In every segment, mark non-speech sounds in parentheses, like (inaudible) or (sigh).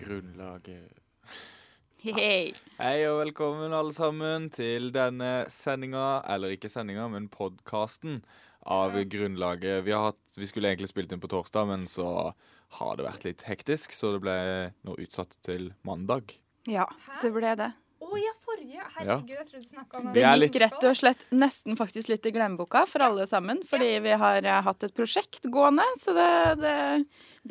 Beklager. Hei. Hei og velkommen alle sammen til denne sendinga, eller ikke sendinga, men podkasten av Grunnlaget. Vi, har hatt, vi skulle egentlig spilt inn på torsdag, men så har det vært litt hektisk, så det ble nå utsatt til mandag. Ja, det ble det. Å ja, forrige. Herregud, jeg trodde du snakka om Det er gikk rett og slett nesten faktisk litt i glemmeboka for alle sammen, fordi vi har eh, hatt et prosjekt gående, så det, det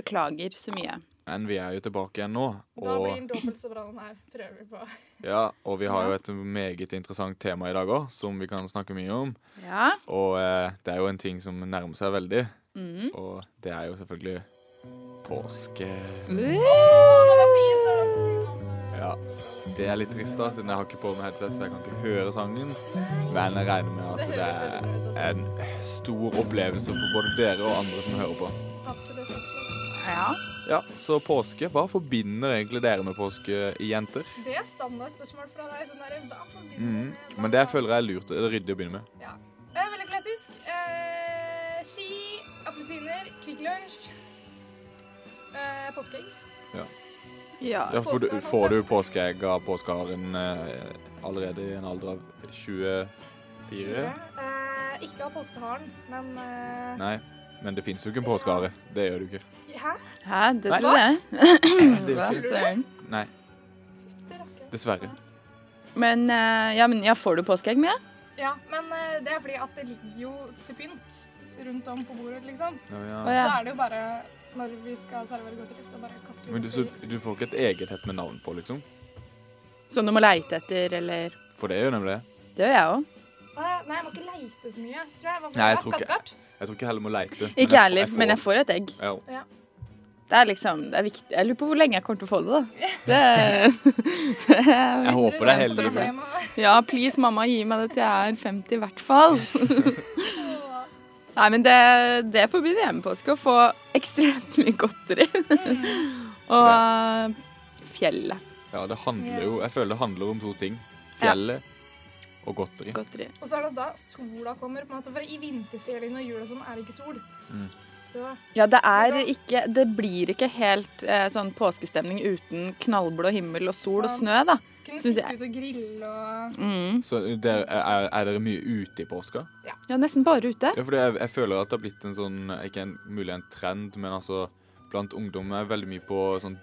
beklager så mye. Men vi er jo tilbake igjen nå, Da blir og, den dobbelt så bra den her. Prøver vi på. ja, og vi har jo et meget interessant tema i dag òg, som vi kan snakke mye om. Ja. Og eh, det er jo en ting som nærmer seg veldig, Mm. og det er jo selvfølgelig påske. Ja, Det er litt trist, da, siden jeg har ikke på meg headset, så jeg kan ikke høre sangen. Men jeg regner med Det at høres veldig det bra ut. altså. er en stor opplevelse for både dere og andre som hører på. Absolutt. absolutt. ja. Ja, Så påske, hva forbinder egentlig dere med påske, jenter? Det er standardspørsmål fra deg. Sånn der, hva forbinder du Mhm. med- Men det jeg føler jeg er lurt eller ryddig å begynne med. ja. Eh, Veldig klassisk. Eh, ski, appelsiner, Kvikk Lunsj. Eh, Påskeegg. ja. Ja, for du, Får du påskeegg av påskeharen eh, allerede i en alder av 24? Eh, ikke av påskeharen, men eh, Nei, men det fins jo ikke en påskehare. Det gjør du ikke. Hæ? Hæ, det Nei. tror jeg. Mm. Det er Hva ikke- søren. Nei, Fytti rakker. dessverre. Men, eh, ja, men ja, får du påskeegg med? Ja, men eh, det er fordi at det ligger jo til pynt rundt om på bordet, liksom. Ja, ja. Å, ja. Så er det jo bare når vi skal servere godteri, så bare kaster vi Men du, så, du får ikke et eget et med navn på, liksom? Som du må leite etter, eller For det gjør nemlig det. Det gjør jeg òg. Ah, nei, jeg må ikke leite så mye. Tror jeg. Hva får Nei, jeg jeg tror ikke- Skattekart? Jeg tror ikke heller må leite. men Ikke jeg får- heller, men jeg får et egg. Ja. Det er liksom Det er viktig. Jeg lurer på hvor lenge jeg kommer til å få det, (laughs) da. (laughs) Det Jeg håper det er heldig. Venstre men- frem, (laughs) Ja, please, mamma, gi meg det til jeg er 50 i hvert fall. og- Nei, men det, det forbinder jeg med påske. Å få ekstremt mye godteri. (laughs) og eh, fjellet. Ja, det handler jo Jeg føler det handler om to ting. Fjellet og godteri. Godteri. Og så er det da sola kommer. på en måte, For i vinterferien og jul og sånn er det ikke sol. Mm. Så Ja, det er Liksom- ikke Det blir ikke helt eh, sånn påskestemning uten knallblå himmel og sol og Sant. snø, da. kunne Synes sitte jeg- ute og grille og Mm. Så dere- er, er dere mye ute i påska? Ja, nesten bare ute. Ja, fordi jeg, jeg føler at det har blitt en sånn Ikke en, mulig en trend, men altså Blant ungdom er veldig mye på sånn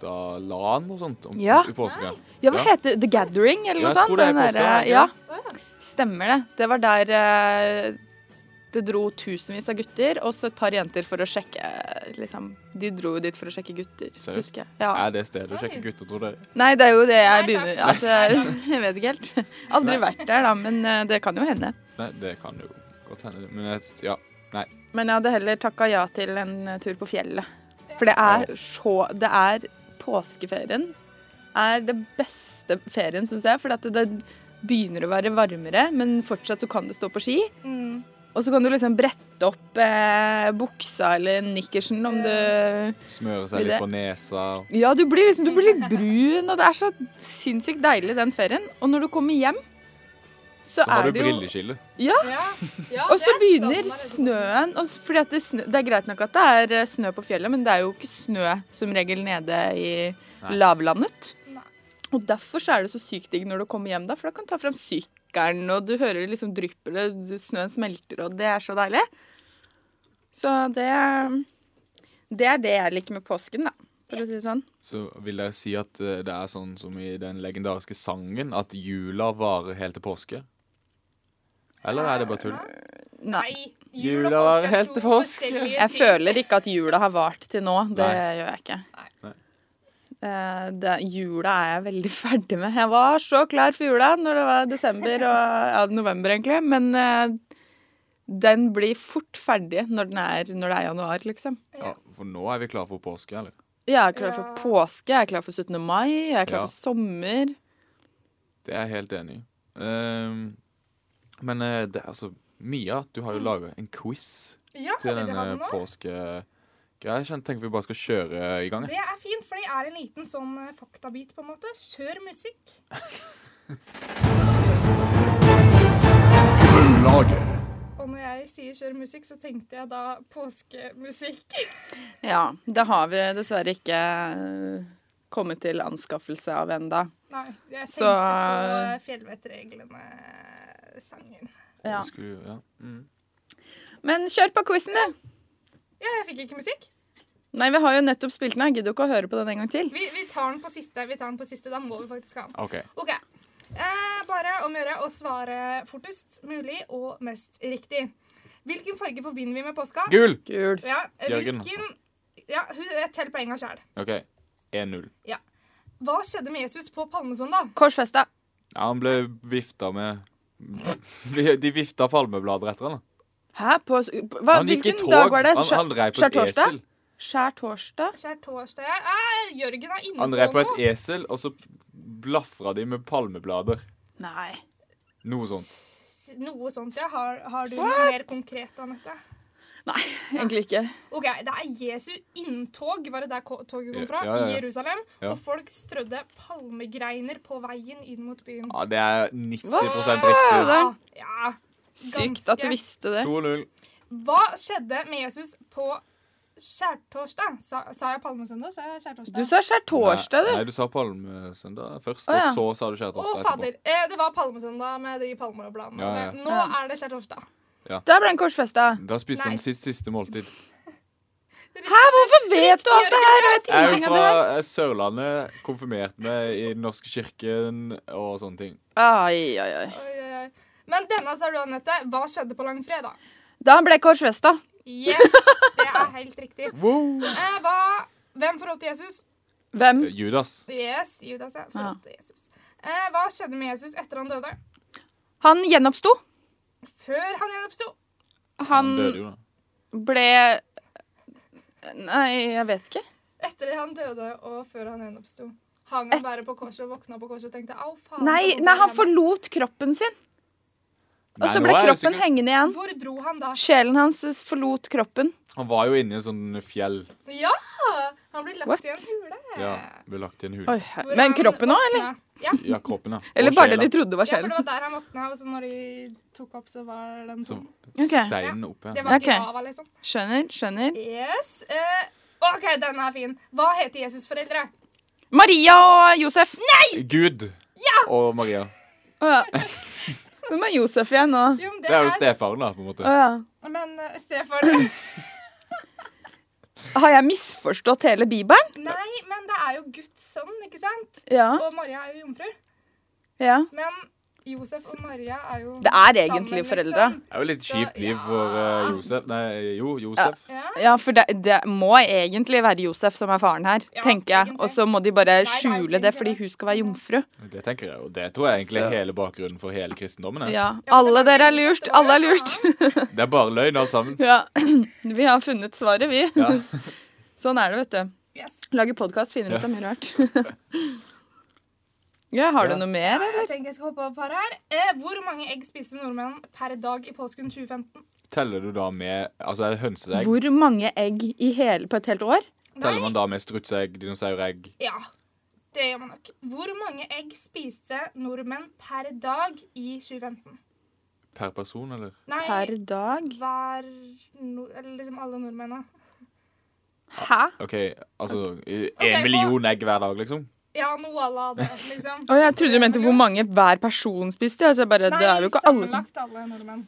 datalan og sånt om, Ja. i påska. Ja, hva Ja. heter det? The Gathering, eller Ja, noe jeg sånt? tror det er Den påske, derre- er det ikke? ja, Å ja. stemmer det. Det var der eh, det dro tusenvis av gutter, og så et par jenter for å sjekke liksom. De dro jo dit for å sjekke gutter, Seriøst? husker jeg. Ja. Er det stedet å sjekke gutter, tror dere? Nei, det er jo det jeg Nei, begynner takk. Altså, Nei, (laughs) jeg vet ikke helt. Aldri Nei. vært der, da, men eh, det kan jo hende. Nei, det kan jo godt hende. Men jeg, ja. Men jeg hadde heller takka ja til en eh, tur på fjellet. For det er så Det er påskeferien er det beste ferien, syns jeg. For at det, det begynner å være varmere, men fortsatt så kan du stå på ski. Mm. Og så kan du liksom brette opp eh, buksa eller nikkersen om du Smøre seg Vil litt det- på nesa. Ja, du blir liksom du blir litt brun, og det er så sinnssykt deilig den ferien. Og når du kommer hjem, så, Så (laughs) har er du det jo brilleskille. Ja. Ja, Og så det er begynner standard, liksom. snøen og s- fordi at det, snø, det er greit nok at det er eh, snø på fjellet, men det er jo ikke snø som regel nede i Nei. lavlandet. Nei. Og derfor så er det så sykt digg når du kommer hjem, da, for da kan du ta fram sykkelen, og du hører det liksom drypper, og snøen smelter, og det er så deilig. Så det Det er det jeg liker med påsken, da, for å si det sånn. Så vil jeg si at eh, det er sånn som i den legendariske sangen, at jula varer helt til påske. Eller er det bare tull? Nei. Nei. Jula og var påske er helt to til påske. forskjellige Jeg ting. føler ikke at jula har vart til nå. Det Nei. gjør jeg ikke. Nei. Eh, det, jula er jeg veldig (laughs) ferdig med. Jeg var så klar for jula når det var desember og ja, november, egentlig. Men eh, den blir fort ferdig når, den er, når det er januar, liksom. Ja, for nå er vi klare for påske, eller? Jeg er klar for Ja. påske, jeg er klar for 17. mai, jeg er Ja. klar for sommer. Det er jeg helt enig i. Ehm, men eh, det er altså Mia, du har jo laga en quiz Ja, til vil du ha denne den nå? påskegreia. Jeg kjenner- tenker vi bare skal kjøre i (laughs) gang. jeg. Det er fint, for det er en liten sånn eh, faktabit, på en måte. Kjør musikk. Grunnlaget. Og når jeg sier kjør musikk, så tenkte jeg da påskemusikk. (laughs) Ja, det har vi dessverre ikke eh, kommet til anskaffelse av enda. Nei, jeg tenkte Så- på Fjellvettreglene-sangen. Ja. Vi Skulle, ja. Mm. Men kjør på quizen, du! Ja, jeg fikk ikke musikk. Nei, vi har jo nettopp spilt den. her. Gidder du ikke å høre på den en gang til? Vi, vi tar den på siste. vi tar den på siste, Da må vi faktisk ha den. OK. OK. Eh, bare om å gjøre å svare fortest mulig og mest riktig. Hvilken farge forbinder vi med påska? Gul! Gul. Ja, Jørgen, altså. hvilken Ja, hun jeg teller poenga sjøl. OK. 1-0. Hva skjedde med Jesus på palmesøndag? Korsfesta. Ja, han ble vifta med (laughs) De vifta palmeblader etter han. da. Hæ? På, s- på- hva, Han gikk i hvilken tog. dag var det? Han, han rei på et skjærtorsdag? esel. Skjær torsdag? Skjær torsdag her. Eh, Jørgen er inne Han rei på på et noe. esel, og så blafra de med palmeblader. Nei. Noe sånt. Noe sånt. Ja. Har, har du noe mer konkret, Anette? Egentlig ikke. Ok, Det er Jesu inntog, var det der ko- toget kom fra, Ja, ja, ja. i Jerusalem. Ja. Og folk strødde palmegreiner på veien inn mot byen. Ja, det er 90 Hva? riktig. Ja, ja. Sykt at du Ganske. visste det. 2-0. Hva skjedde med Jesus på skjærtorsdag? Sa, sa jeg palmesøndag? Sa jeg skjærtorsdag? Du sa skjær torsdag, Nei, du. du sa palmesøndag først, Å, ja. og så sa du Å, skjærtorsdag etterpå. fader. Eh, det var palmesøndag med de palmer og bladene. Ja, ja. Nå Ja. er det skjærtorsdag. Der ble den korsfesta. Da spiste han Nei. sitt siste måltid. Hæ, hvorfor vet du alt det her? Jeg vet Jeg er ingenting jo om det fra her. Sørlandet, konfirmert meg i Den norske kirken og sånne ting. Ai, ai, ai. Oi, oi, oi. Men denne sa du, Anette. Hva skjedde på langfredag? Da han ble korsfesta. Yes, det er helt riktig. Eh, hva, hvem forrådte Jesus? Hvem? Judas. Yes, Judas, ja. Forrådte Jesus. Eh, hva skjedde med Jesus etter han døde? Han gjenoppsto. Før han gjenoppsto? Han Han døde jo, da. ble Nei, jeg vet ikke. Etter han døde og før han gjenoppsto. Hang han bare på korset og våkna på korset og tenkte au, faen. så Eh. Nei, vondt i nei, han hendene». forlot kroppen sin, og Nei, så nå ble er jeg kroppen usikker. hengende igjen. Hvor dro han da? Sjelen hans forlot kroppen. Han var jo inni en sånn fjell. Ja! Han ble lagt What? i en hule. Ja, ble lagt i en hule. Oi, her- men kroppen òg, eller? Ja. Ja, kroppen, ja. Eller Og bare det sjela. de trodde var ja, for sjelen? det var der han våkna, og så når de tok opp, så var den Så tom. Ok, steinen opp Det igjen. var Ok. ikke lava, liksom. Skjønner, skjønner. Yes. eh, OK, den er fin. Hva heter Jesus' foreldre? Maria og Josef. Gud og Maria. Å ja. Hvem er Josef igjen nå? Jo, men Det er jo stefaren, da, på en måte. Å ja. Men uh, Stefan Har jeg misforstått hele Bibelen? (laughs) Nei, men det er jo Guds sønn, ikke sant? Ja. Og Maria er jo jomfru. ja. Men Josef og Maria er jo Det er sammen, egentlig liksom. foreldra. Det er jo litt kjipt liv for eh, Josef. Nei, jo, Josef. Ja. Ja, for det, det må egentlig være Josef som er faren her, Ja, tenker jeg. egentlig. Og så må de bare Nei, det er jo skjule det egentlig fordi det. hun skal være jomfru. Det tenker jeg, og det tror jeg egentlig Så- er hele bakgrunnen for hele kristendommen. er. Ja. Ja, men Alle det var dere er ikke lurt. Josef, det var Alle er jo en lurt. Det er bare løgn, alt sammen. (laughs) Ja. Vi har funnet svaret, vi. Ja. Sånn er det, vet du. Yes. Lager podkast, finner Ja. ut av mye rart. (laughs) Ja, har Ja. du noe mer, eller? Jeg tenker jeg skal hoppe opp her. her. Eh, hvor mange egg spiste nordmenn per dag i påsken 2015? Teller du da med altså er det hønseegg? Hvor mange egg i hele, på et helt år? Teller man da med strutseegg, dinosauregg? Ja, det gjør man nok. Hvor mange egg spiste nordmenn per dag i 2015? Per person, eller? Nei, Per dag? hver nor- Eller liksom alle nordmennene. Hæ? OK, altså i- Ok, En på- million egg hver dag, liksom? Ja, noe à (laughs) la det, liksom. Å, jeg trodde du mente hvor mange hver person spiste. Altså bare, det er jo ikke alle som sammenlagt alle nordmenn.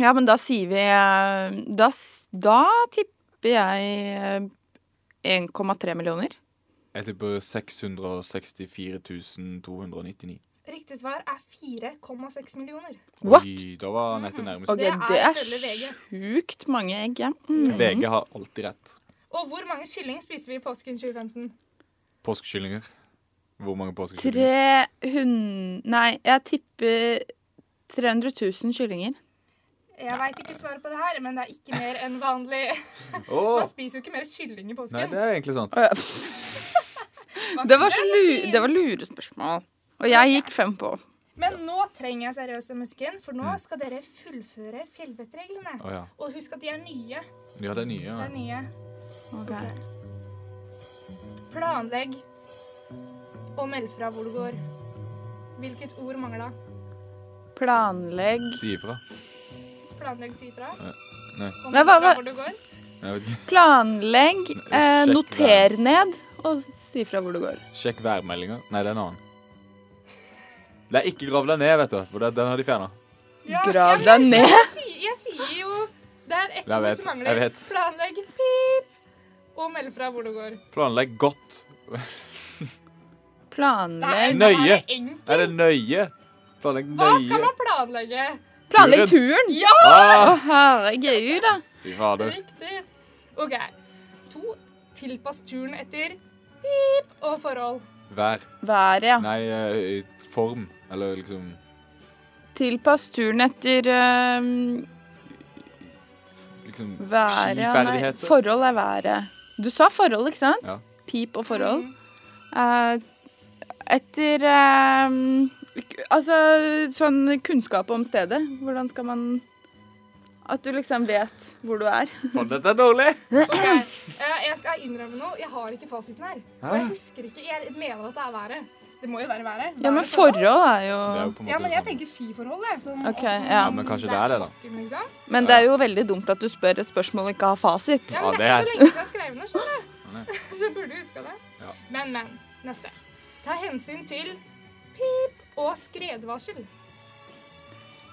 Ja, men da sier vi eh, Da, s- da tipper jeg eh, 1,3 millioner. Jeg tipper 664 299. Riktig svar er 4,6 millioner. What? Oi, da var Anette nærmest. Ok, Det er det er ifølge VG. sjukt mange egg, ja. Mm. VG har alltid rett. Og hvor mange kylling spiste vi i påsken 2015? Påskekyllinger. Hvor mange påskekyllinger? 300 Nei, jeg tipper 300 000 kyllinger. Jeg veit ikke svaret på det her, men det er ikke mer enn vanlig. Man Åh, spiser jo ikke mer kylling i Nei, påsken. det er egentlig sant. Å, ja. Det var, så lu det var lurespørsmål. Og jeg gikk fem på. Men nå trenger jeg seriøst den musikken, for nå skal dere fullføre fjellvettreglene. Å Mm. ja. Og husk at de er nye. Ja, det er nye. De Ja. er nye. Ok. Planlegg og meld fra hvor du går. Hvilket ord mangla? Planlegg Si ifra. Planlegg si ifra. nei. Og Nei, meld hva- fra hva- hvor du går. Jeg vet ikke. Planlegg. Eh, Sjekk noter ned. og si fra hvor du går. Sjekk værmeldinga. Nei, det er en annen. Det er ikke grav deg ned, vet du, for det- den har de fjerna. Ja, Grav jeg- deg ned. Jeg sier, jeg sier jo Det er ett Jeg ord vet, som jeg mangler. vet. Planlegg, pip, og meld fra hvor det går. Planlegg godt. Planlegg Nei. Nøye. det er enkelt. Er det nøye? Planlegg nøye. Hva skal man planlegge? Planlegg turen! Ja! Ah, Herregud, da. fy fader. Riktig. OK. To. Tilpass turen etter pip og forhold. Vær. Været, ja. Nei, eh, i form. Eller liksom Tilpass turen etter øhm, Liksom været ja, Nei, skiferdigheter. forhold er været. Du sa forhold, ikke sant? Ja. Pip og forhold. Mm. Eh, etter øhm, k- Altså sånn kunnskap om stedet. Hvordan skal man At du liksom vet hvor du er. Faen, dette er dårlig. (laughs) Ok, eh, Jeg skal innrømme noe. Jeg har ikke fasiten her. Og jeg Hæ? husker ikke. Jeg mener at det er været. Det må jo være været. Ja, Været men og forhold er jo Det er jo på en måte sånn Ja, men det jeg samme. tenker skiforhold, jeg. Sånn, Ok, åssen ja. Ja, men kanskje det er det, da. bakken, Liksom. Men det er jo veldig dumt at du spør et spørsmål og ikke har fasit. Ja, Ja, men det det er er- ikke så lenge siden jeg skrev den, Nei. skjønner du. (laughs) Så burde du huska det. Ja. Men, men. Neste. Ta hensyn til pip og skredvarsel.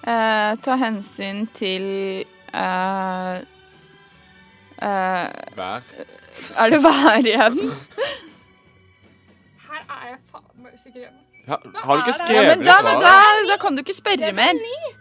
Eh, ta hensyn til eh, eh, Vær. Er det vær igjen? Her er jeg faen meg usikker igjen. Ja, har du ikke er det? Ja, skrevet men ned da, men svaret? da, da kan du ikke Det spørre er mer. en ny,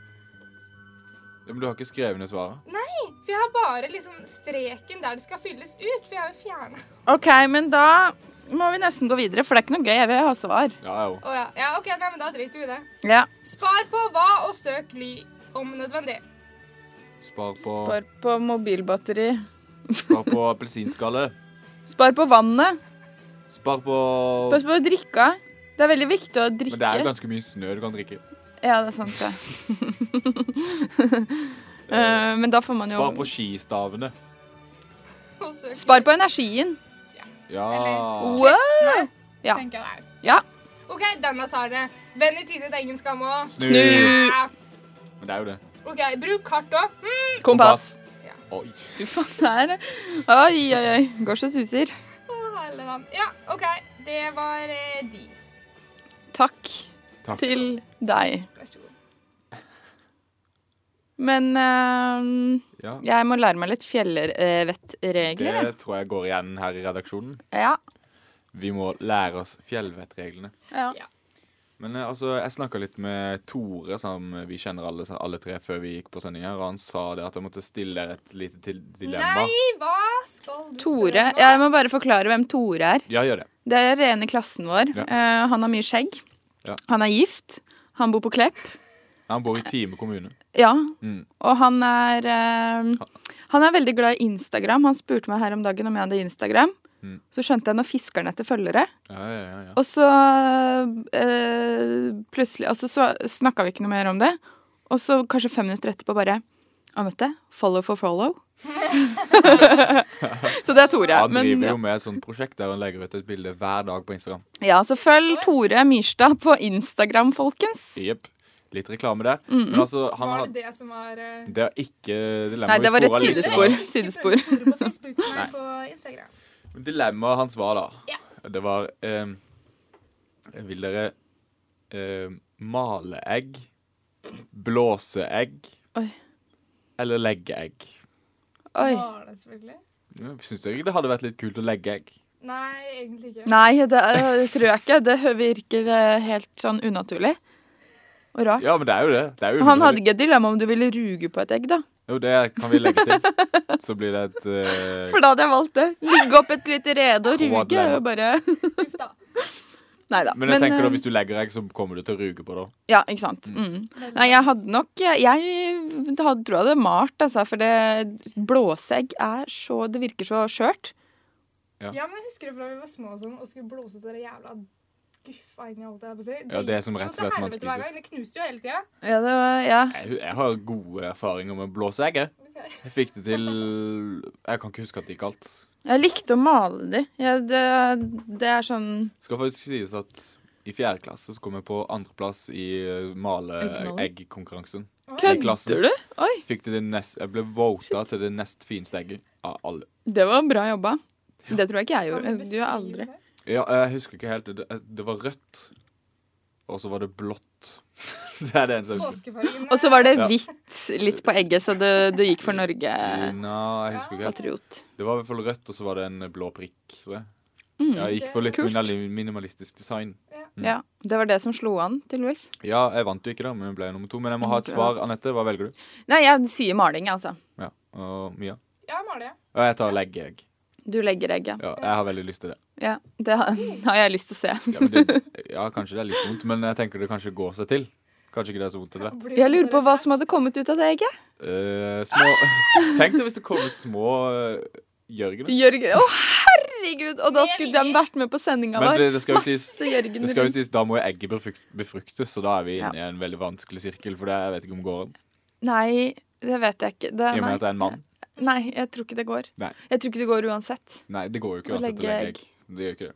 Ja, men du har ikke skrevet ned svaret? for jeg har bare liksom streken der det skal fylles ut. For jeg har jo fjerna OK, men da må vi nesten gå videre, for det er ikke noe gøy. Jeg vil ha svar. Ja, jo. Å ja. ja, OK, nei, men da driter vi i det. Ja. Spar på hva og søk ly om nødvendig. (laughs) Spar på, Spar på mobilbatteri. spar på appelsinskalle. Spar på vannet. Spar på Pass på drikka. Det er veldig viktig å drikke. Men det er jo ganske mye snø du kan drikke. Ja, det er sant, (laughs) det. Eh, men da får man jo Spar på skistavene. Og søk Spar på energien. Ja. Ah. Eller- Wow! Nei, Ja. tenker jeg det er. Ja. OK, denne tar det. Venn i tide til egen skam òg. Snu. Snu. Ja. Men det er jo det. OK, bruk kart òg. Kompass. Oi. Fy faen, det er Oi, oi, oi. Går så suser. Å, hele vann. Ja, OK. Det var eh, de. Takk Takk. til deg. Vær så god. Men eh, Ja. jeg må lære meg litt fjellvettregler. jeg. Det tror jeg går igjen her i redaksjonen. Ja. Vi må lære oss fjellvettreglene. ja. Men eh, altså, jeg snakka litt med Tore, som vi kjenner alle, alle tre, før vi gikk på sending her, og han sa det at jeg måtte stille dere et lite til- dilemma. Nei, hva skal du Tore spørre om nå? Jeg må bare forklare hvem Tore er. Ja, gjør det. Det er en i klassen vår. Ja. Eh, han har mye skjegg. Ja. Han er gift. Han bor på Klepp. Han bor i Time kommune. Ja. Mm. Og han er eh, Han er veldig glad i Instagram. Han spurte meg her om dagen om jeg hadde Instagram. Mm. Så skjønte jeg nå fisker han etter følgere. Ja, ja, ja, ja. Og så eh, plutselig Og så snakka vi ikke noe mer om det. Og så kanskje fem minutter etterpå bare Anette, follow for follow. (laughs) så det er Tore. Han men- driver jo med et sånt prosjekt der han legger ut et bilde hver dag på Instagram. Ja, så følg Tore Myrstad på Instagram, folkens. Jepp. Litt reklame der. Men altså, han Var har det det som var eh, Det er ikke dilemma. Nei, vi det var et sporer litt. sidespor. Ikke sidespor. følg Tore på Facebook, Nei. men på Instagram. Dilemmaet hans var da Ja. Det var ehm, Vil dere ehm, male egg, blåse egg Oi. eller legge egg? Oi. Var det selvfølgelig? Syns dere ikke det hadde vært litt kult å legge egg? Nei, egentlig ikke. Nei, det er- tror jeg ikke. Det hø- virker eh, helt sånn unaturlig. Og rart. Ja, men det er jo det. det er jo Han hadde underlig. ikke et dilemma om du ville ruge på et egg, da. Jo, det kan vi legge (laughs) til. Så blir det et eh, For da hadde jeg valgt det. Ligge opp et lite rede og Hva ruge. dilemma? Og bare (laughs) Uff da. Nei da. Men jeg tenker da, eh, hvis du legger egg, så kommer du til å ruge på det. Ja, ikke sant. Mm. Nei, jeg hadde nok Jeg hadde, tror jeg hadde malt, altså. For det blåseegg er så Det virker så skjørt. Ja, men jeg husker det fra vi var små og sånn, og skulle blåse oss det jævla guffa inn i alt det jeg på å si. Ja, det er som gikk jo rett og til slett man helvete hver spiser. gang. Det knuste jo hele tida. Ja, det var Ja. Jeg, jeg har gode erfaringer med å blåse egg. jeg. Jeg fikk det til Jeg kan ikke huske at det gikk alt. Jeg likte å male de. Jeg, det, det er sånn skal faktisk sies at i fjerde klasse så kom jeg på andreplass i eh, male-egg-konkurransen. I Kødder klassen. du? Oi, Fikk til det nest, jeg ble vota til det nest fineste egget av alle. det var bra jobba. Det tror jeg ikke jeg Kan gjorde. Du beskrive har aldri det? Ja, jeg husker ikke helt. Det, det var rødt, og så var det blått. (laughs) Det er det eneste jeg husker. Påskefargene Og så var det Ja. hvitt litt på egget, så det, du gikk for Norge, Mm. Nei, jeg husker ikke helt. patriot. Det var i hvert fall rødt, og så var det en blå prikk. tror jeg. Mm. Jeg gikk for litt Kult. minimali- minimalistisk design. Ja, Det var det som slo an, tydeligvis. Ja, jeg vant jo ikke, da, men jeg ble jo nummer to. Men jeg må ha et Ja. svar. Anette, hva velger du? Nei, jeg sier maling, jeg, altså. Ja, Og Mia? Ja, Malie. Og jeg tar legg, jeg. Du legger egget. Ja, jeg har veldig lyst til det. Ja, det har, (laughs) har jeg lyst til å se. Ja, men det, ja, kanskje det er litt vondt, men jeg tenker det kanskje går seg til. Kanskje ikke det er så vondt etter hvert. Jeg lurer på hva som hadde kommet ut av det egget. Eh, små (laughs) Tenk deg hvis det kommer små uh, Jørgener. Jørgen, Å, herregud! Og da skulle de vært med på sendinga Men vår. det, det skal jo sies Så Jørgen det skal jo rundt. sies, Da må jo egget befrukt- befruktes, så da er vi inne i en veldig vanskelig sirkel. For det jeg vet ikke om går an. Nei, det vet jeg ikke. Det, I og med nei. at det er en mann. nei, jeg tror ikke det går. Nei. Jeg tror ikke det går uansett. Nei, det går jo ikke Å uansett å legge legge egg. egg. Det gjør ikke det.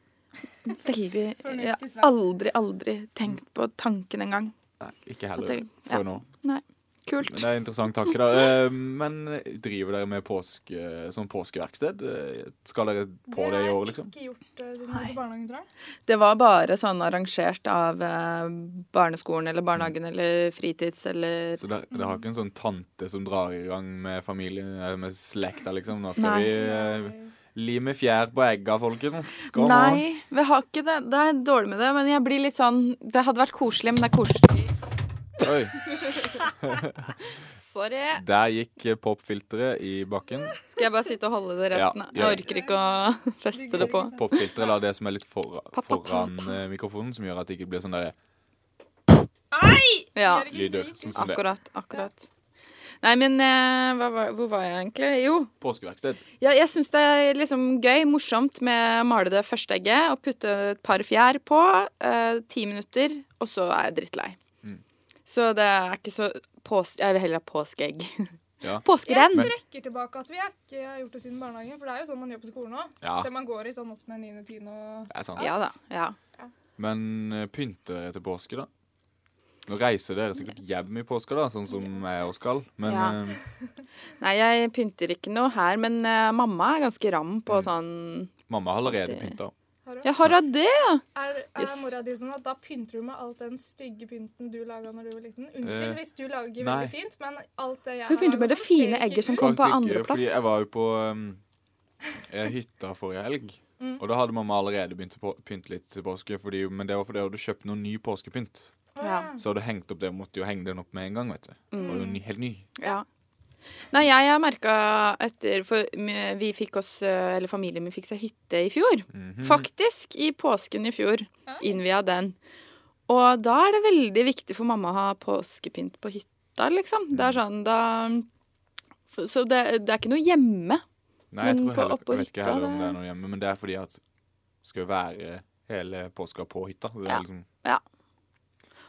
Veldig Fornuftig Jeg svar. har aldri, aldri tenkt på tanken engang. Nei, ikke At heller det- ja. for nå. Men Kult. det er interessant takke, da. Eh, Men driver dere med påske, sånn påskeverksted? Eh, Skal dere på det i år, liksom? Det har jeg ikke gjort eh, siden jeg var på barnehagen, tror jeg. Det var bare sånn arrangert av eh, barneskolen eller Mm. barnehagen eller fritids eller Så dere, dere har ikke en sånn tante som drar i gang med familien, eh, med slekta, liksom? Nå skal Nei. vi eh, lime fjær på egga, folkens. Kom on. Nei, vi har ikke det. Det er dårlig med det, men jeg blir litt sånn Det hadde vært koselig, men det er koselig. Oi, Sorry. der gikk eh, popfilteret i bakken. Skal jeg bare sitte og holde det resten? Ja, gjør Jeg orker ikke å (laughs) feste det på. Popfilteret er det som er litt for, Pa, pa, pa, foran pa. eh, mikrofonen, som gjør at det ikke blir sånn der Ja, Jørgen, lyder. drit i- Sånn som det. akkurat. Akkurat. Nei, men eh, hva, var- hvor var jeg egentlig? Jo, Påskeverksted. Ja, jeg syns det er liksom gøy, morsomt med å male det første egget og putte et par fjær på. Eh, ti minutter, og så er jeg drittlei. Mm. Så det er ikke så pås Jeg vil heller ha påskeegg. (laughs) Ja. Påskerenn! Men- trekker tilbake at vi har ikke har gjort det siden barnehagen. For det er jo sånn man gjør på skolen òg. Ja. Til man går i sånn 8., 9., 10. og Det er sånn. sant. Ja da. Ja. Men eh, pynter dere til påske, da? Nå reiser dere sikkert hjem i påska, da, sånn som jeg også skal. Men Ja. eh, Nei, jeg pynter ikke noe her, men eh, mamma er ganske ram på Mm. sånn mamma har allerede Alltid. pynta. har du? Ja, har hun det? Er, er Yes. mora di sånn at da pynter du med alt den stygge pynten du laga når du var liten? Unnskyld Eh, hvis du lager nei. veldig fint, men alt det jeg Hun har pynter med laget, det så fine ser det egget ikke som ut. kom- på ikke, andreplass. Fordi jeg var jo på um, eh, hytta forrige helg. Mm. Og da hadde mamma allerede begynt å på- pynte litt til påske, fordi, men det var fordi hun hadde kjøpt noen ny påskepynt. Ja. Så hadde hun hengt opp det, og måtte jo henge den opp med en gang, vet du. Det Mm. var jo ny, helt ny. Ja. Nei, jeg har merka etter For m- vi fikk oss, eh, eller familien min fikk seg hytte i fjor. Mhm. Faktisk, i påsken i fjor Oi. innvia den. Og da er det veldig viktig for mamma å ha påskepynt på hytta, liksom. Det er sånn, da Så det, det er ikke noe hjemme. Nei, jeg Men tror på- heller, jeg oppå vet ikke hytta, heller om det- det er noe hjemme, men det er fordi at det skal jo være hele påska på hytta. Det er Ja. liksom,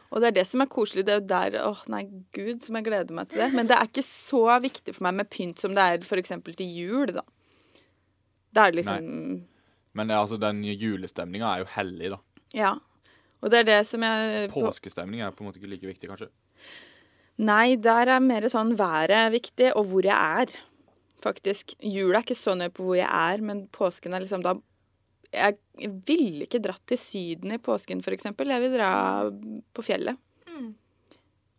Og det er det som er koselig. Det er jo der Åh, nei, gud, som jeg gleder meg til det. Men det er ikke så viktig for meg med pynt som det er f.eks. til jul, da. Det er liksom men det er altså, den julestemninga er jo hellig, da. Ja. Og det er det som jeg på- Påskestemninga er på en måte ikke like viktig, kanskje. Nei, der er mer sånn været viktig, og hvor jeg er, faktisk. Jula er ikke så nøye på hvor jeg er, men påsken er liksom da Jeg ville ikke dratt til Syden i påsken, for eksempel. Jeg vil dra på fjellet. Mm.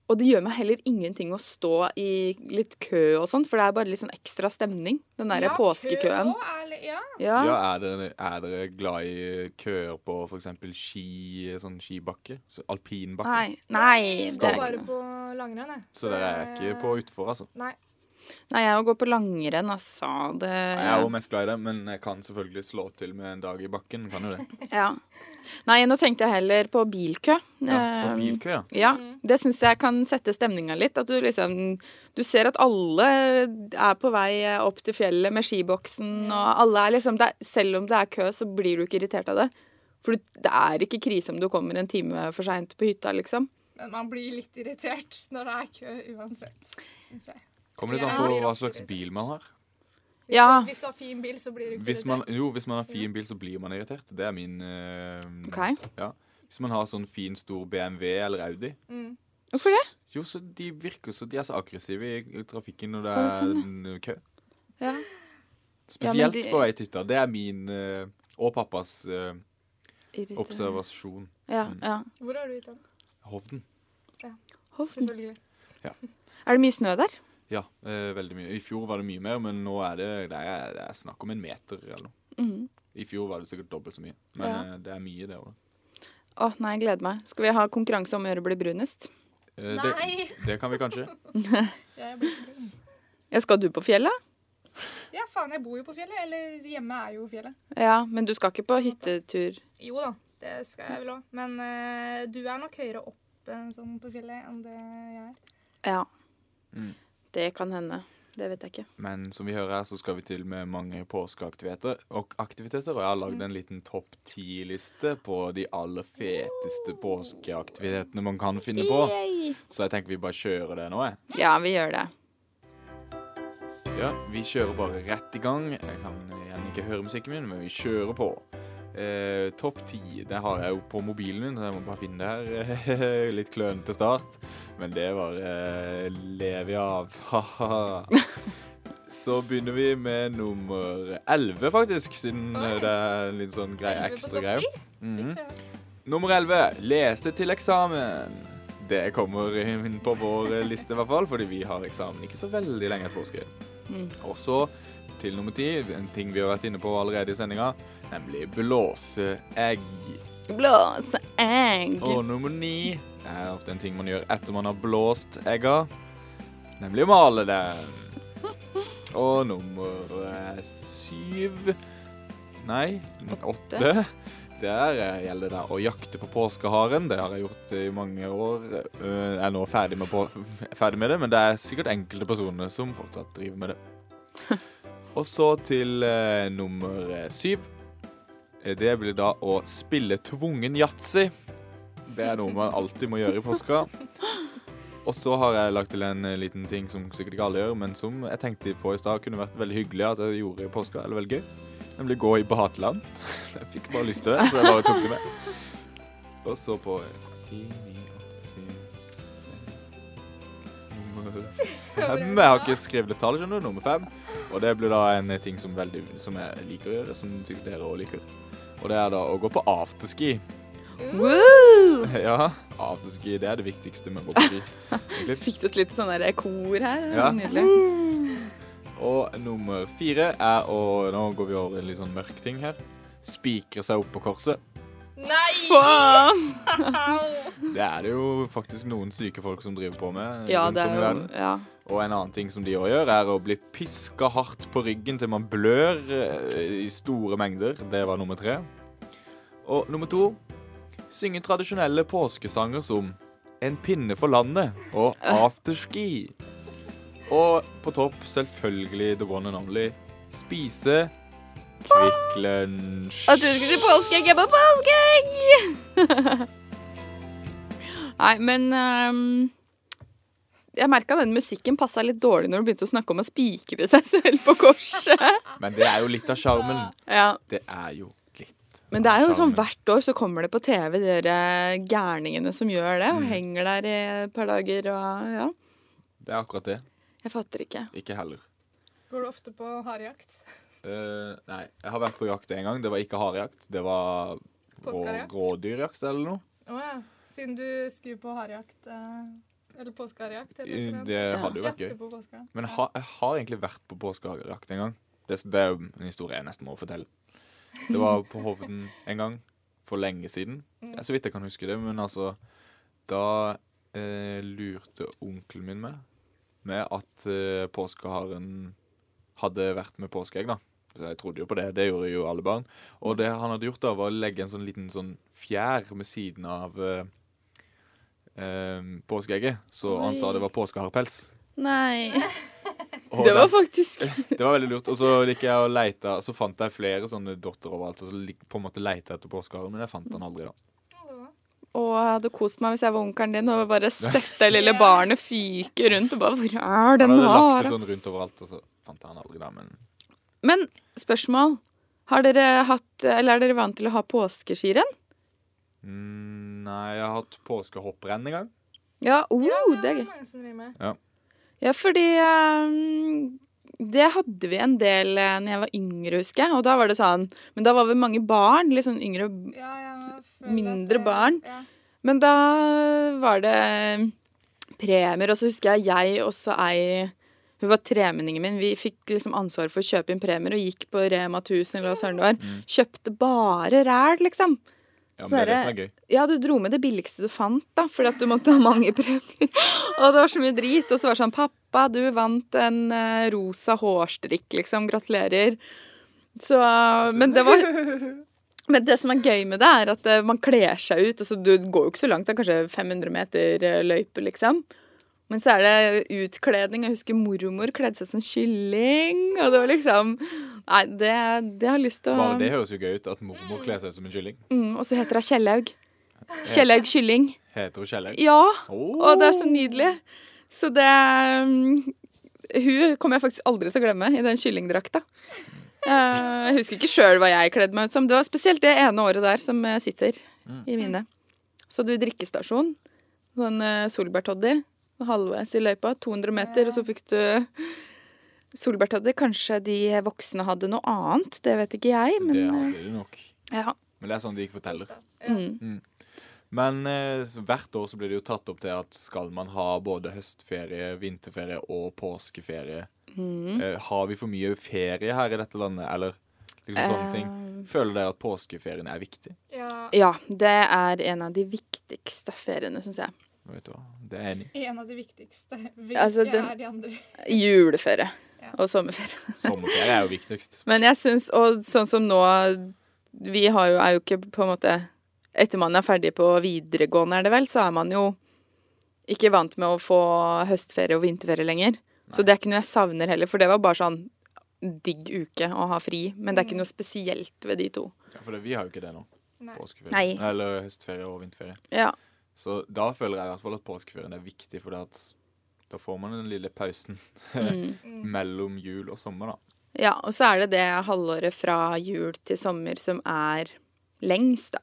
Og det gjør meg heller ingenting å stå i litt kø og sånn, for det er bare litt sånn ekstra stemning. Den derre Ja, påskekøen. kø også er li- Ja. Ja. Ja, er dere, er dere glad i køer på for eksempel ski, sånn skibakke? Så alpinbakke? Nei. Nei, Jeg det Går er bare ikke noe. på langrenn, jeg. eh, Så dere er ikke på utfor, altså? Nei. Nei, jeg går på langrenn, altså. Det Jeg er jo mest glad i det, men jeg kan selvfølgelig slå til med en dag i bakken. Kan jo (laughs) det. Ja. Nei, nå tenkte jeg heller på bilkø. Ja, Eh, og bilkø, ja. Ja, det syns jeg kan sette stemninga litt. At du liksom Du ser at alle er på vei opp til fjellet med skiboksen, og alle er liksom det er, Selv om det er kø, så blir du ikke irritert av det. For du- det er ikke krise om du kommer en time for seint på hytta, liksom. Men man blir litt irritert når det er kø uansett, syns jeg. Kommer litt an Ja. på hva slags bil man har. Hvis, Ja. du, hvis du har fin bil, så blir du ikke Hvis man, irritert. jo, hvis man har fin bil, så blir man irritert. Det er min eh, Ok. ja. Hvis man har sånn fin, stor BMW eller Audi Mm. Hvorfor det? Jo, så de sånn, virker så De er så aggressive i i trafikken når det Å, er sånn, en kø. Spesielt de- på ei hytte. Det er min eh, og pappas eh, Irriterende. observasjon. Ja, ja. Hvor har du gitt den? Hovden. Hovden. Selvfølgelig. Er det mye snø der? Ja, eh, veldig mye. I fjor var det mye mer, men nå er det, det, er, det er snakk om en meter eller noe. Mhm. I fjor var det sikkert dobbelt så mye, men Ja. eh, det er mye, det òg. Å nei, jeg gleder meg. Skal vi ha konkurranse om å gjøre å bli brunest? Eh, det, (laughs) Nei! det kan vi kanskje. Jeg blir ikke brun. Ja, skal du på fjellet? Ja, faen, jeg bor jo på fjellet. Eller hjemme er jo fjellet. Ja, men du skal ikke på hyttetur. Jo da, det skal jeg vel òg. Men eh, du er nok høyere opp enn sånn på fjellet enn det jeg er. Ja. Mm. Det kan hende. Det vet jeg ikke. Men som vi hører her, så skal vi til med mange påskeaktiviteter. Og aktiviteter, og jeg har Mm. lagd en liten topp ti-liste på de aller feteste påskeaktivitetene man kan finne på. Så jeg tenker vi bare kjører det nå, jeg. Ja, vi gjør det. Ja, vi kjører bare rett i gang. Jeg kan gjerne ikke høre musikken min, men vi kjører på. Eh, Topp ti. Det har jeg jo på mobilen min, så jeg må bare finne det her. (laughs) Litt klønete start, men det bare eh, lever jeg av. (laughs) Haha. Så begynner vi med nummer elleve, faktisk, siden eh, det er en litt sånn greie, Elleve på ekstra topp greie. ti? Mhm. Fy søren. Nummer 11. Lese til eksamen. Det kommer inn på vår liste, i hvert fall, fordi vi har eksamen ikke så veldig lenge etter påske. Mm. Og så til nummer 10, en ting vi har vært inne på allerede i sendinga, nemlig blåseegg. Blåse egg. Og nummer 9 er ofte en ting man gjør etter man har blåst egga, nemlig å male dem. Og nummer eh, syv Nei, åtte. Der eh, gjelder det å jakte på påskeharen. Det har jeg gjort i mange år. Eh, Jeg er nå ferdig med, på, ferdig med det, men det er sikkert enkelte personer som fortsatt driver med det. Og så til eh, nummer eh, syv. Eh, Det blir da å spille tvungen yatzy. Det er noe man alltid må gjøre i påska. Og så har jeg lagt til en eh, liten ting som sikkert ikke alle gjør, men som jeg tenkte på i stad kunne vært veldig hyggelig at jeg gjorde i påska, eller veldig gøy. Nemlig gå i badeland. Så jeg fikk bare lyst til det, så jeg bare tok det med. Og så på 10, 9, 8, 7, 6, nummer fem. Jeg har ikke skrevet et tall, skjønner du. Nummer fem. Og det blir da en ting som, veldig, som jeg liker å gjøre, som sikkert dere òg liker. Og det er da å gå på afterski. Woo! Ja, afterski det er det viktigste med å gå på ski. egentlig. Fikk du et lite sånn der kor her? Ja. Nydelig. Og nummer fire er å Nå går vi over i en litt sånn mørk ting her. Spikre seg opp på korset. Nei! Faen! Mm. Au! Det er det jo faktisk noen syke folk som driver på med. Ja, rundt det om i er jo verden. ja. Og en annen ting som de òg gjør, er å bli piska hardt på ryggen til man blør eh, i store mengder. Det var nummer tre. Og nummer to synge tradisjonelle påskesanger som En pinne for landet og Afterski. Og på topp selvfølgelig The One and Only spise Kvikk Lunsj. At du skulle si påskeegg, jeg er på påskeegg! (laughs) Nei, men ehm, Jeg merka den musikken passa litt dårlig når du begynte å snakke om å spikre seg selv på korset. Men det er jo litt av sjarmen. (laughs) Ja, Det er jo litt. Men det er jo sånn Sjarmen. hvert år så kommer det på TV de der eh, gærningene som gjør det, og Mm. henger der i et par dager og ja. Det er akkurat det. Jeg fatter ikke. Ikke heller. Går du ofte på harejakt? Eh, nei, jeg har vært på jakt en gang. Det var ikke harejakt. Det var rå- Påskeharejakt? rådyrjakt eller noe. Å ja. Siden du skulle på harejakt eh, Eller påskeharejakt, heter det. Eh, Det hadde jo vært Jakte gøy. på påska. Men jeg har, jeg har egentlig vært på påskehagejakt en gang. Det, det er jo en historie jeg nesten må fortelle. Det var på Hovden en gang for lenge siden. Mm. Ja, så vidt jeg kan huske det, men altså Da eh, lurte onkelen min meg med at eh, påskeharen hadde vært med påskeegg, da. Så jeg trodde jo på det. Det gjorde jo alle barn. Og det han hadde gjort, da, var å legge en sånn liten sånn fjær med siden av eh, eh, påskeegget. Så han sa det var påskeharepels. Nei. Og (laughs) Det var den- faktisk det var veldig lurt. Og så gikk jeg og leita, og så fant jeg flere sånne dotter overalt. Og så lik- på en måte leita jeg etter påskeharen, men jeg fant den aldri, da. Å, jeg hadde kost meg hvis jeg var onkelen din og (laughs) bare sett det lille barnet fyke rundt og bare Hvor er Han den hadde lagt haren? det sånn rundt overalt, og så fant jeg den aldri, da. Men Men spørsmål. Har dere hatt Eller er dere vant til å ha påskeskirenn? mm, Nei, jeg har hatt påskehopprenn en gang. Ja, oh, Ja, det er gøy. mange som driver med. Ja, fordi ehm, det hadde vi en del eh, når jeg var yngre, husker jeg. Og da var det sånn Men da var vi mange barn. Litt sånn yngre Ja, jeg føler Mindre at det- barn. Ja. Men da var det premier, og så husker jeg jeg også ei Hun var tremenningen min. Vi fikk liksom ansvar for å kjøpe inn premier og gikk på Rema 1000 eller hva søren det var. Kjøpte bare ræl, liksom. Ja, men det er det som er gøy. Ja, du dro med det billigste du fant, da, fordi at du måtte ha mange (laughs) premier. Og det var så mye drit. Og så var det sånn Pappa, du vant en eh, rosa hårstrikk, liksom. Gratulerer. Så Men det var Men det som er gøy med det, er at eh, man kler seg ut. Altså, du går jo ikke så langt, det er kanskje 500 meter eh, løype, liksom. Men så er det utkledning. Jeg husker mormor kledde seg som kylling. Og det var liksom Nei, det, det har jeg lyst til å Bare det høres jo gøy ut at mormor kler seg ut som en kylling. mm, Og så heter hun Kjellaug. Kjellaug kylling. Heter hun Kjellaug? Ja. Oh. Og det er så nydelig. Så det um, Hun kommer jeg faktisk aldri til å glemme i den kyllingdrakta. Eh, jeg husker ikke sjøl hva jeg kledde meg ut som. Det var spesielt det ene året der som eh, sitter Mm. i minnet. Så hadde vi drikkestasjon. Sånn uh, solbærtoddy halvveis i løypa. 200 meter, og så fikk du solbærtoddy. Kanskje de voksne hadde noe annet, det vet ikke jeg, Det men hadde de nok. eh, ja. Men det er sånn de ikke forteller. Mm. Men eh, så hvert år så blir det jo tatt opp til at skal man ha både høstferie, vinterferie og påskeferie. Mm. Eh, har vi for mye ferie her i dette landet, eller liksom Eh. sånne ting? Føler dere at påskeferien er viktig? Ja, Ja, det er en av de viktigste feriene, syns jeg. Vet du hva? Det er jeg enig. en av de viktigste. Hvilke Altså, den- er de andre? Juleferie Ja. og sommerferie. i. Sommerferie er jo viktigst. Men jeg syns, og sånn som nå Vi har jo, er jo ikke på en måte Etter man er ferdig på videregående, er det vel, så er man jo ikke vant med å få høstferie og vinterferie lenger. Så det er ikke noe jeg savner heller, for det var bare sånn digg uke å ha fri. Men det er ikke noe spesielt ved de to. Ja, for det, vi har jo ikke det nå. Nei. Påskeferie. Nei. Eller høstferie og vinterferie. Ja. Så da føler jeg i hvert fall at påskeferien er viktig, for at da får man den lille pausen Mm. (laughs) mellom jul og sommer, da. ja. Og så er det det halvåret fra jul til sommer som er lengst, da.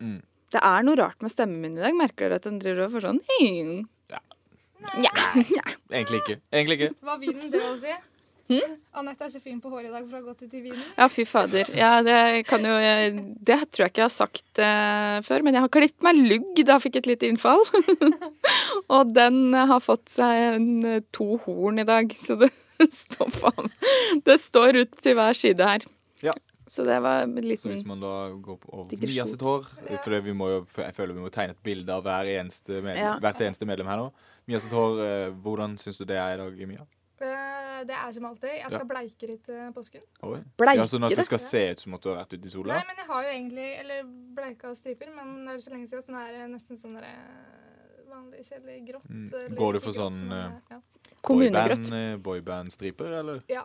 Mm. Det er noe rart med stemmen min i dag. Merker dere at den driver og får sånn «Hm». Egentlig ikke. Egentlig ikke. Var vinen det å si? Hm? Anette er så fin på håret i dag, for hun har gått ut i vinen. Ja, fy fader. Ja, det, kan jo, jeg- det tror jeg ikke jeg har sagt eh, før, men jeg har klippet meg lugg da jeg fikk et lite innfall. (laughs) og den har fått seg en, eh, to horn i dag, så det (laughs) står faen Det står ut til hver side her. Ja. Så det var en Så hvis liten man da går på over Digresjon. Mia sitt hår For det vi må jo, jeg føler vi må tegne et bilde av hver eneste medlem, Ja. hvert eneste medlem her nå. Mia sitt hår, eh, hvordan syns du det er i dag, Mia? Eh, Det er som alltid. Jeg skal bleike det til påsken. Oi. bleike Ja, sånn at det. det skal se ut som at du har vært ute i sola? Nei, men jeg har jo egentlig Eller bleika striper, men det er jo så lenge siden, så nå er det nesten sånn der, eh, vanlig, kjedelig grått. eh, Mm. eller Går du ikke for grått, sånn, men, eh, ja. Kommunegrått. Boyband, eh, Boyband-striper, eller? ja.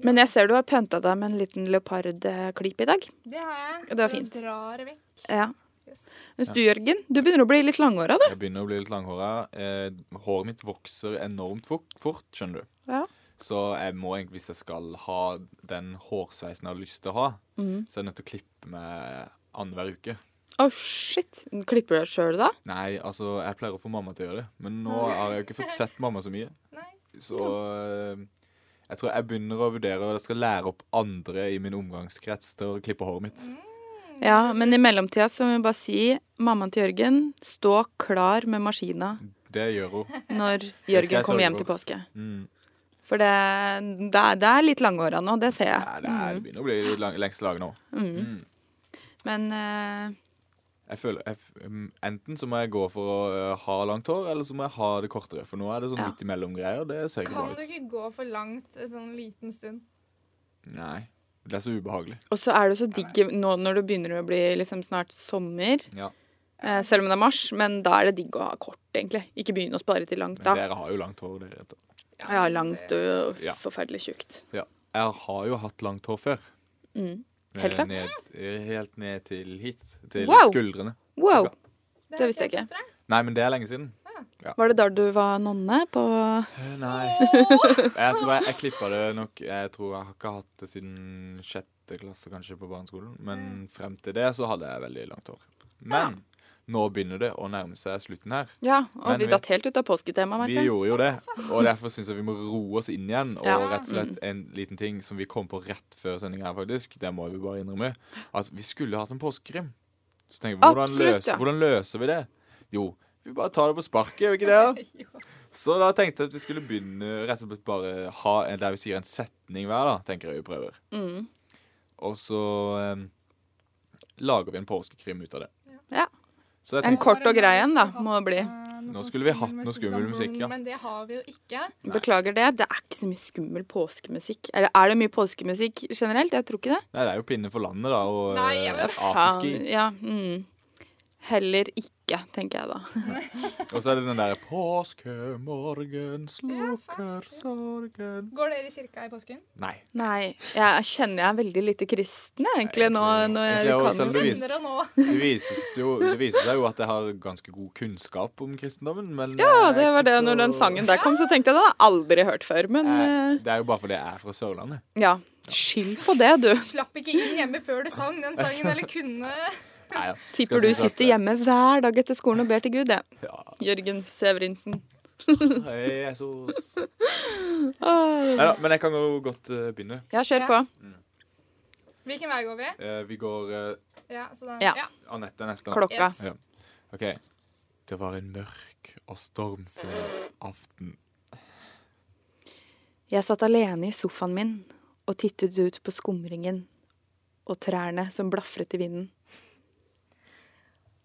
Men jeg ser du har pynta deg med en liten leopardklype i dag. Det har jeg. Det var fint. Eh, Jeg drar vekk. Ja. Yes. Mens du, Jørgen, du begynner å bli litt langhåra, du. Jeg begynner å bli litt langhåra. Eh, håret mitt vokser enormt fort, fort, skjønner du. Ja. Så jeg må egentlig, hvis jeg skal ha den hårsveisen jeg har lyst til å ha, så er jeg nødt til å klippe meg annenhver uke. Å, shit. Klipper du deg sjøl da? Nei, altså, jeg pleier å få mamma til å gjøre det. Men nå har jeg jo ikke fått sett mamma så mye. (laughs) Nei. Så eh, jeg tror jeg begynner å vurdere og jeg skal lære opp andre i min omgangskrets til å klippe håret mitt. Mm. Ja, men i mellomtida så må vi bare si mammaen til Jørgen, stå klar med maskina Det gjør (laughs) hun. når jeg Jørgen sørge kommer hjem for. til påske. Mm. For det, det, er, det er litt langhåra nå, det ser Nei, jeg. det, er, det begynner å bli litt lang, lengst laget nå. Men eh, Jeg føler, jeg, f- mm, Enten så må jeg gå for å eh, ha langt hår, eller så må jeg ha det kortere. For nå er det sånn Ja. midt imellom-greier. Det ser ikke Kan du bra ut. ikke gå for langt en sånn liten stund? Nei. Det er så ubehagelig. og så er det så digg nå når det begynner å bli liksom snart sommer. Ja. eh, selv om det er mars, men da er det digg å ha kort, egentlig. Ikke begynne å spare til langt, Men da. dere har jo langt hår, dere. vet du. Ja, langt og Ja. forferdelig tjukt. Ja. Jeg har jo hatt langt hår før. Mm. Eh, Helt opp? ned, eh, helt ned til hit. Til Wow. skuldrene. Wow! Cirka. Det visste jeg ikke. Nei, men det er lenge siden. Var det da du var nonne på Eh, Nei. (laughs) Jeg tror jeg, jeg klippa det nok Jeg tror jeg har ikke hatt det siden Mm. sjette klasse, kanskje, på barneskolen. Men frem til det så hadde jeg veldig langt hår. Men nå begynner det å nærme seg slutten her. Ja, og Men vi vi- datt helt ut av påsketemaet, Vi merker jeg. gjorde jo det, og derfor syns jeg vi må roe oss inn igjen. Og Ja. rett og slett en liten ting som vi kom på rett før sending her, faktisk, det må vi bare innrømme, at vi skulle hatt en påskekrim. Så tenker vi, hvordan, Absolutt, løser, ja. hvordan løser vi det? Jo, vi bare tar det på sparket, gjør vi ikke det? (laughs) da? Så da tenkte jeg at vi skulle begynne rett og slett bare ha en, der vi sier en setning hver, da, tenker jeg vi prøver. Mm. Og så eh, lager vi en påskekrim ut av det. Ja. Så jeg En tenkte, kort og grei en, da, må det bli. eh, Nå skulle vi hatt noe skummel musikk, ja. sånn Men det har vi jo ikke. Beklager det. Det er ikke så mye skummel påskemusikk. Eller er det mye påskemusikk generelt? Jeg tror ikke det. Nei, det er jo pinne for landet, da, og Nei, jeg eh, vet afterski. Ja, mm. Heller ikke, tenker jeg da. Og så er det den der Påskemorgen slukker faktisk. sorgen Går dere i kirka i påsken? Nei. Nei. Jeg kjenner jeg er veldig lite kristen, jeg, egentlig, Jeg nå tror- når Egentlig jeg også, kan selv om du vis- Kjenner dere nå? Det vises, jo, det viser seg jo at jeg har ganske god kunnskap om kristendommen, men eh, Ja, det var det. Når den sangen der kom, så tenkte jeg det har jeg aldri hørt før. Men eh, Det er jo bare fordi jeg er fra Sørlandet. ja, skyld på det, du. Slapp ikke inn hjemme før du sang den sangen, eller kunne. Nei, ja. Tipper Skal du jeg si at- sitter hjemme hver dag etter skolen og ber til Gud, det. Ja. Jørgen Severinsen. Hei, Jesus. Åh. Neida, men jeg kan jo godt eh, begynne. Ja, kjør på. Hvilken vei går vi? Eh, vi går eh, Ja, så da, Ja. ja. Anette neste. Klokka. Yes. Ja. OK. Det var en mørk og stormfull aften. Jeg satt alene i sofaen min og tittet ut på skumringen og trærne som blafret i vinden.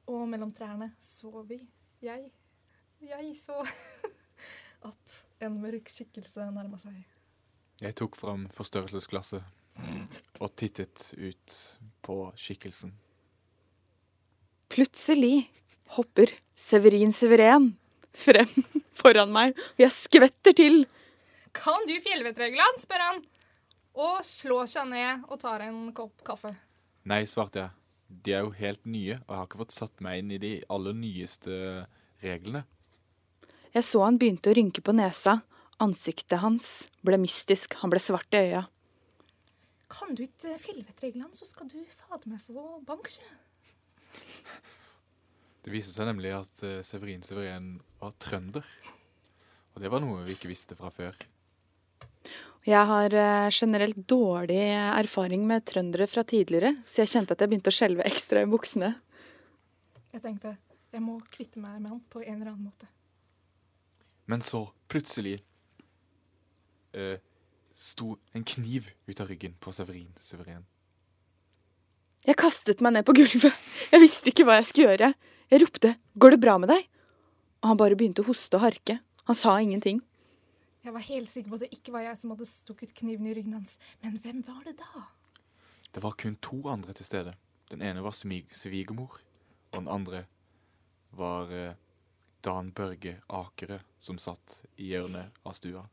Og mellom trærne så vi, jeg, jeg så (laughs) at en mørk skikkelse nærma seg. Jeg tok fram forstørrelsesglasset og tittet ut på skikkelsen. Plutselig hopper Severin Severen frem foran meg, og jeg skvetter til. Kan du fjellvettreglene? spør han. Og slår seg ned og tar en kopp kaffe. Nei, svarte jeg. De er jo helt nye, og jeg har ikke fått satt meg inn i de aller nyeste reglene. Jeg så han begynte å rynke på nesa. Ansiktet hans ble mystisk, han ble svart i øya. Kan du ikke fjellvettreglene, så skal du fader meg få bank, sjø. Det viste seg nemlig at eh, Severin Severen var trønder. Og det var noe vi ikke visste fra før. Jeg har eh, generelt dårlig erfaring med trøndere fra tidligere, så jeg kjente at jeg begynte å skjelve ekstra i buksene. Jeg tenkte jeg må kvitte meg med han på en eller annen måte. Men så, plutselig, eh, sto en kniv ut av ryggen på Severin Severen. Jeg kastet meg ned på gulvet. (laughs) Jeg visste ikke hva jeg skulle gjøre. Jeg ropte 'Går det bra med deg?' Og han bare begynte å hoste og harke. Han sa ingenting. Jeg var helt sikker på at det ikke var jeg som hadde stukket kniven i ryggen hans. Men hvem var det da? Det var kun to andre til stede. Den ene var smig- svigermor, og den andre var eh, Dan Børge Akere, som satt i hjørnet av stua.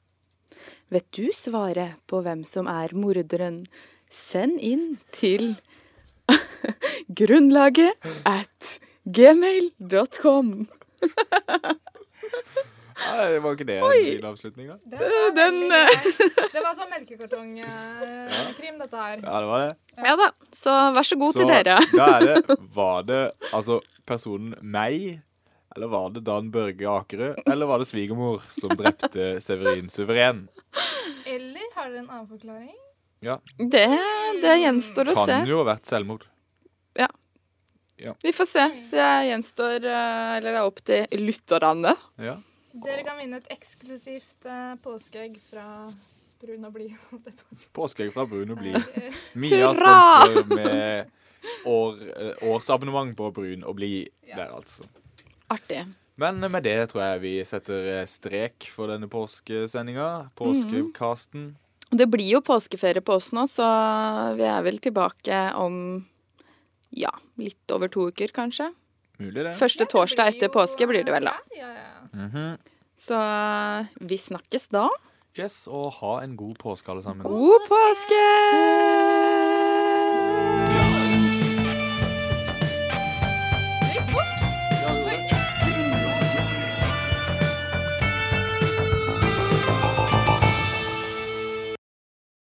Vet du svaret på hvem som er morderen? Send inn til (laughs) grunnlaget at gmail.com. Nei, det var ikke det en fin avslutning, da. Det var, Øh, Den, øh. veldig (laughs) grei. det var sånn melkekartongkrim, dette her. Ja, det var det. Ja da, så vær så god Så til dere. (laughs) da er det Var det altså personen meg, eller var det Dan Børge Akerø, eller var det svigermor som drepte Severin Suveren? Eller har dere en annen forklaring? Det, det gjenstår å se. Kan jo ha vært selvmord. Vi får se. Det gjenstår, eh, eller er opp til lytterne. Ja. Dere kan vinne et eksklusivt eh, påskeegg fra Brun og blid. holdt jeg på å si. Påskeegg fra Brun og Blid. Mia Hurra! sponser med år, eh, årsabonnement på Brun og Blid Ja. der, altså. Artig. Men med det tror jeg vi setter eh, strek for denne påskesendinga. Påskekasten. Og Det blir jo påskeferie på oss nå, så vi er vel tilbake om ja, litt over to uker, kanskje. Mulig, det. Første torsdag Det blir etter jo, påske blir det vel, da. Ja, ja, ja. Mhm. Så eh, vi snakkes da. Yes, og ha en god påske, alle sammen. God påske!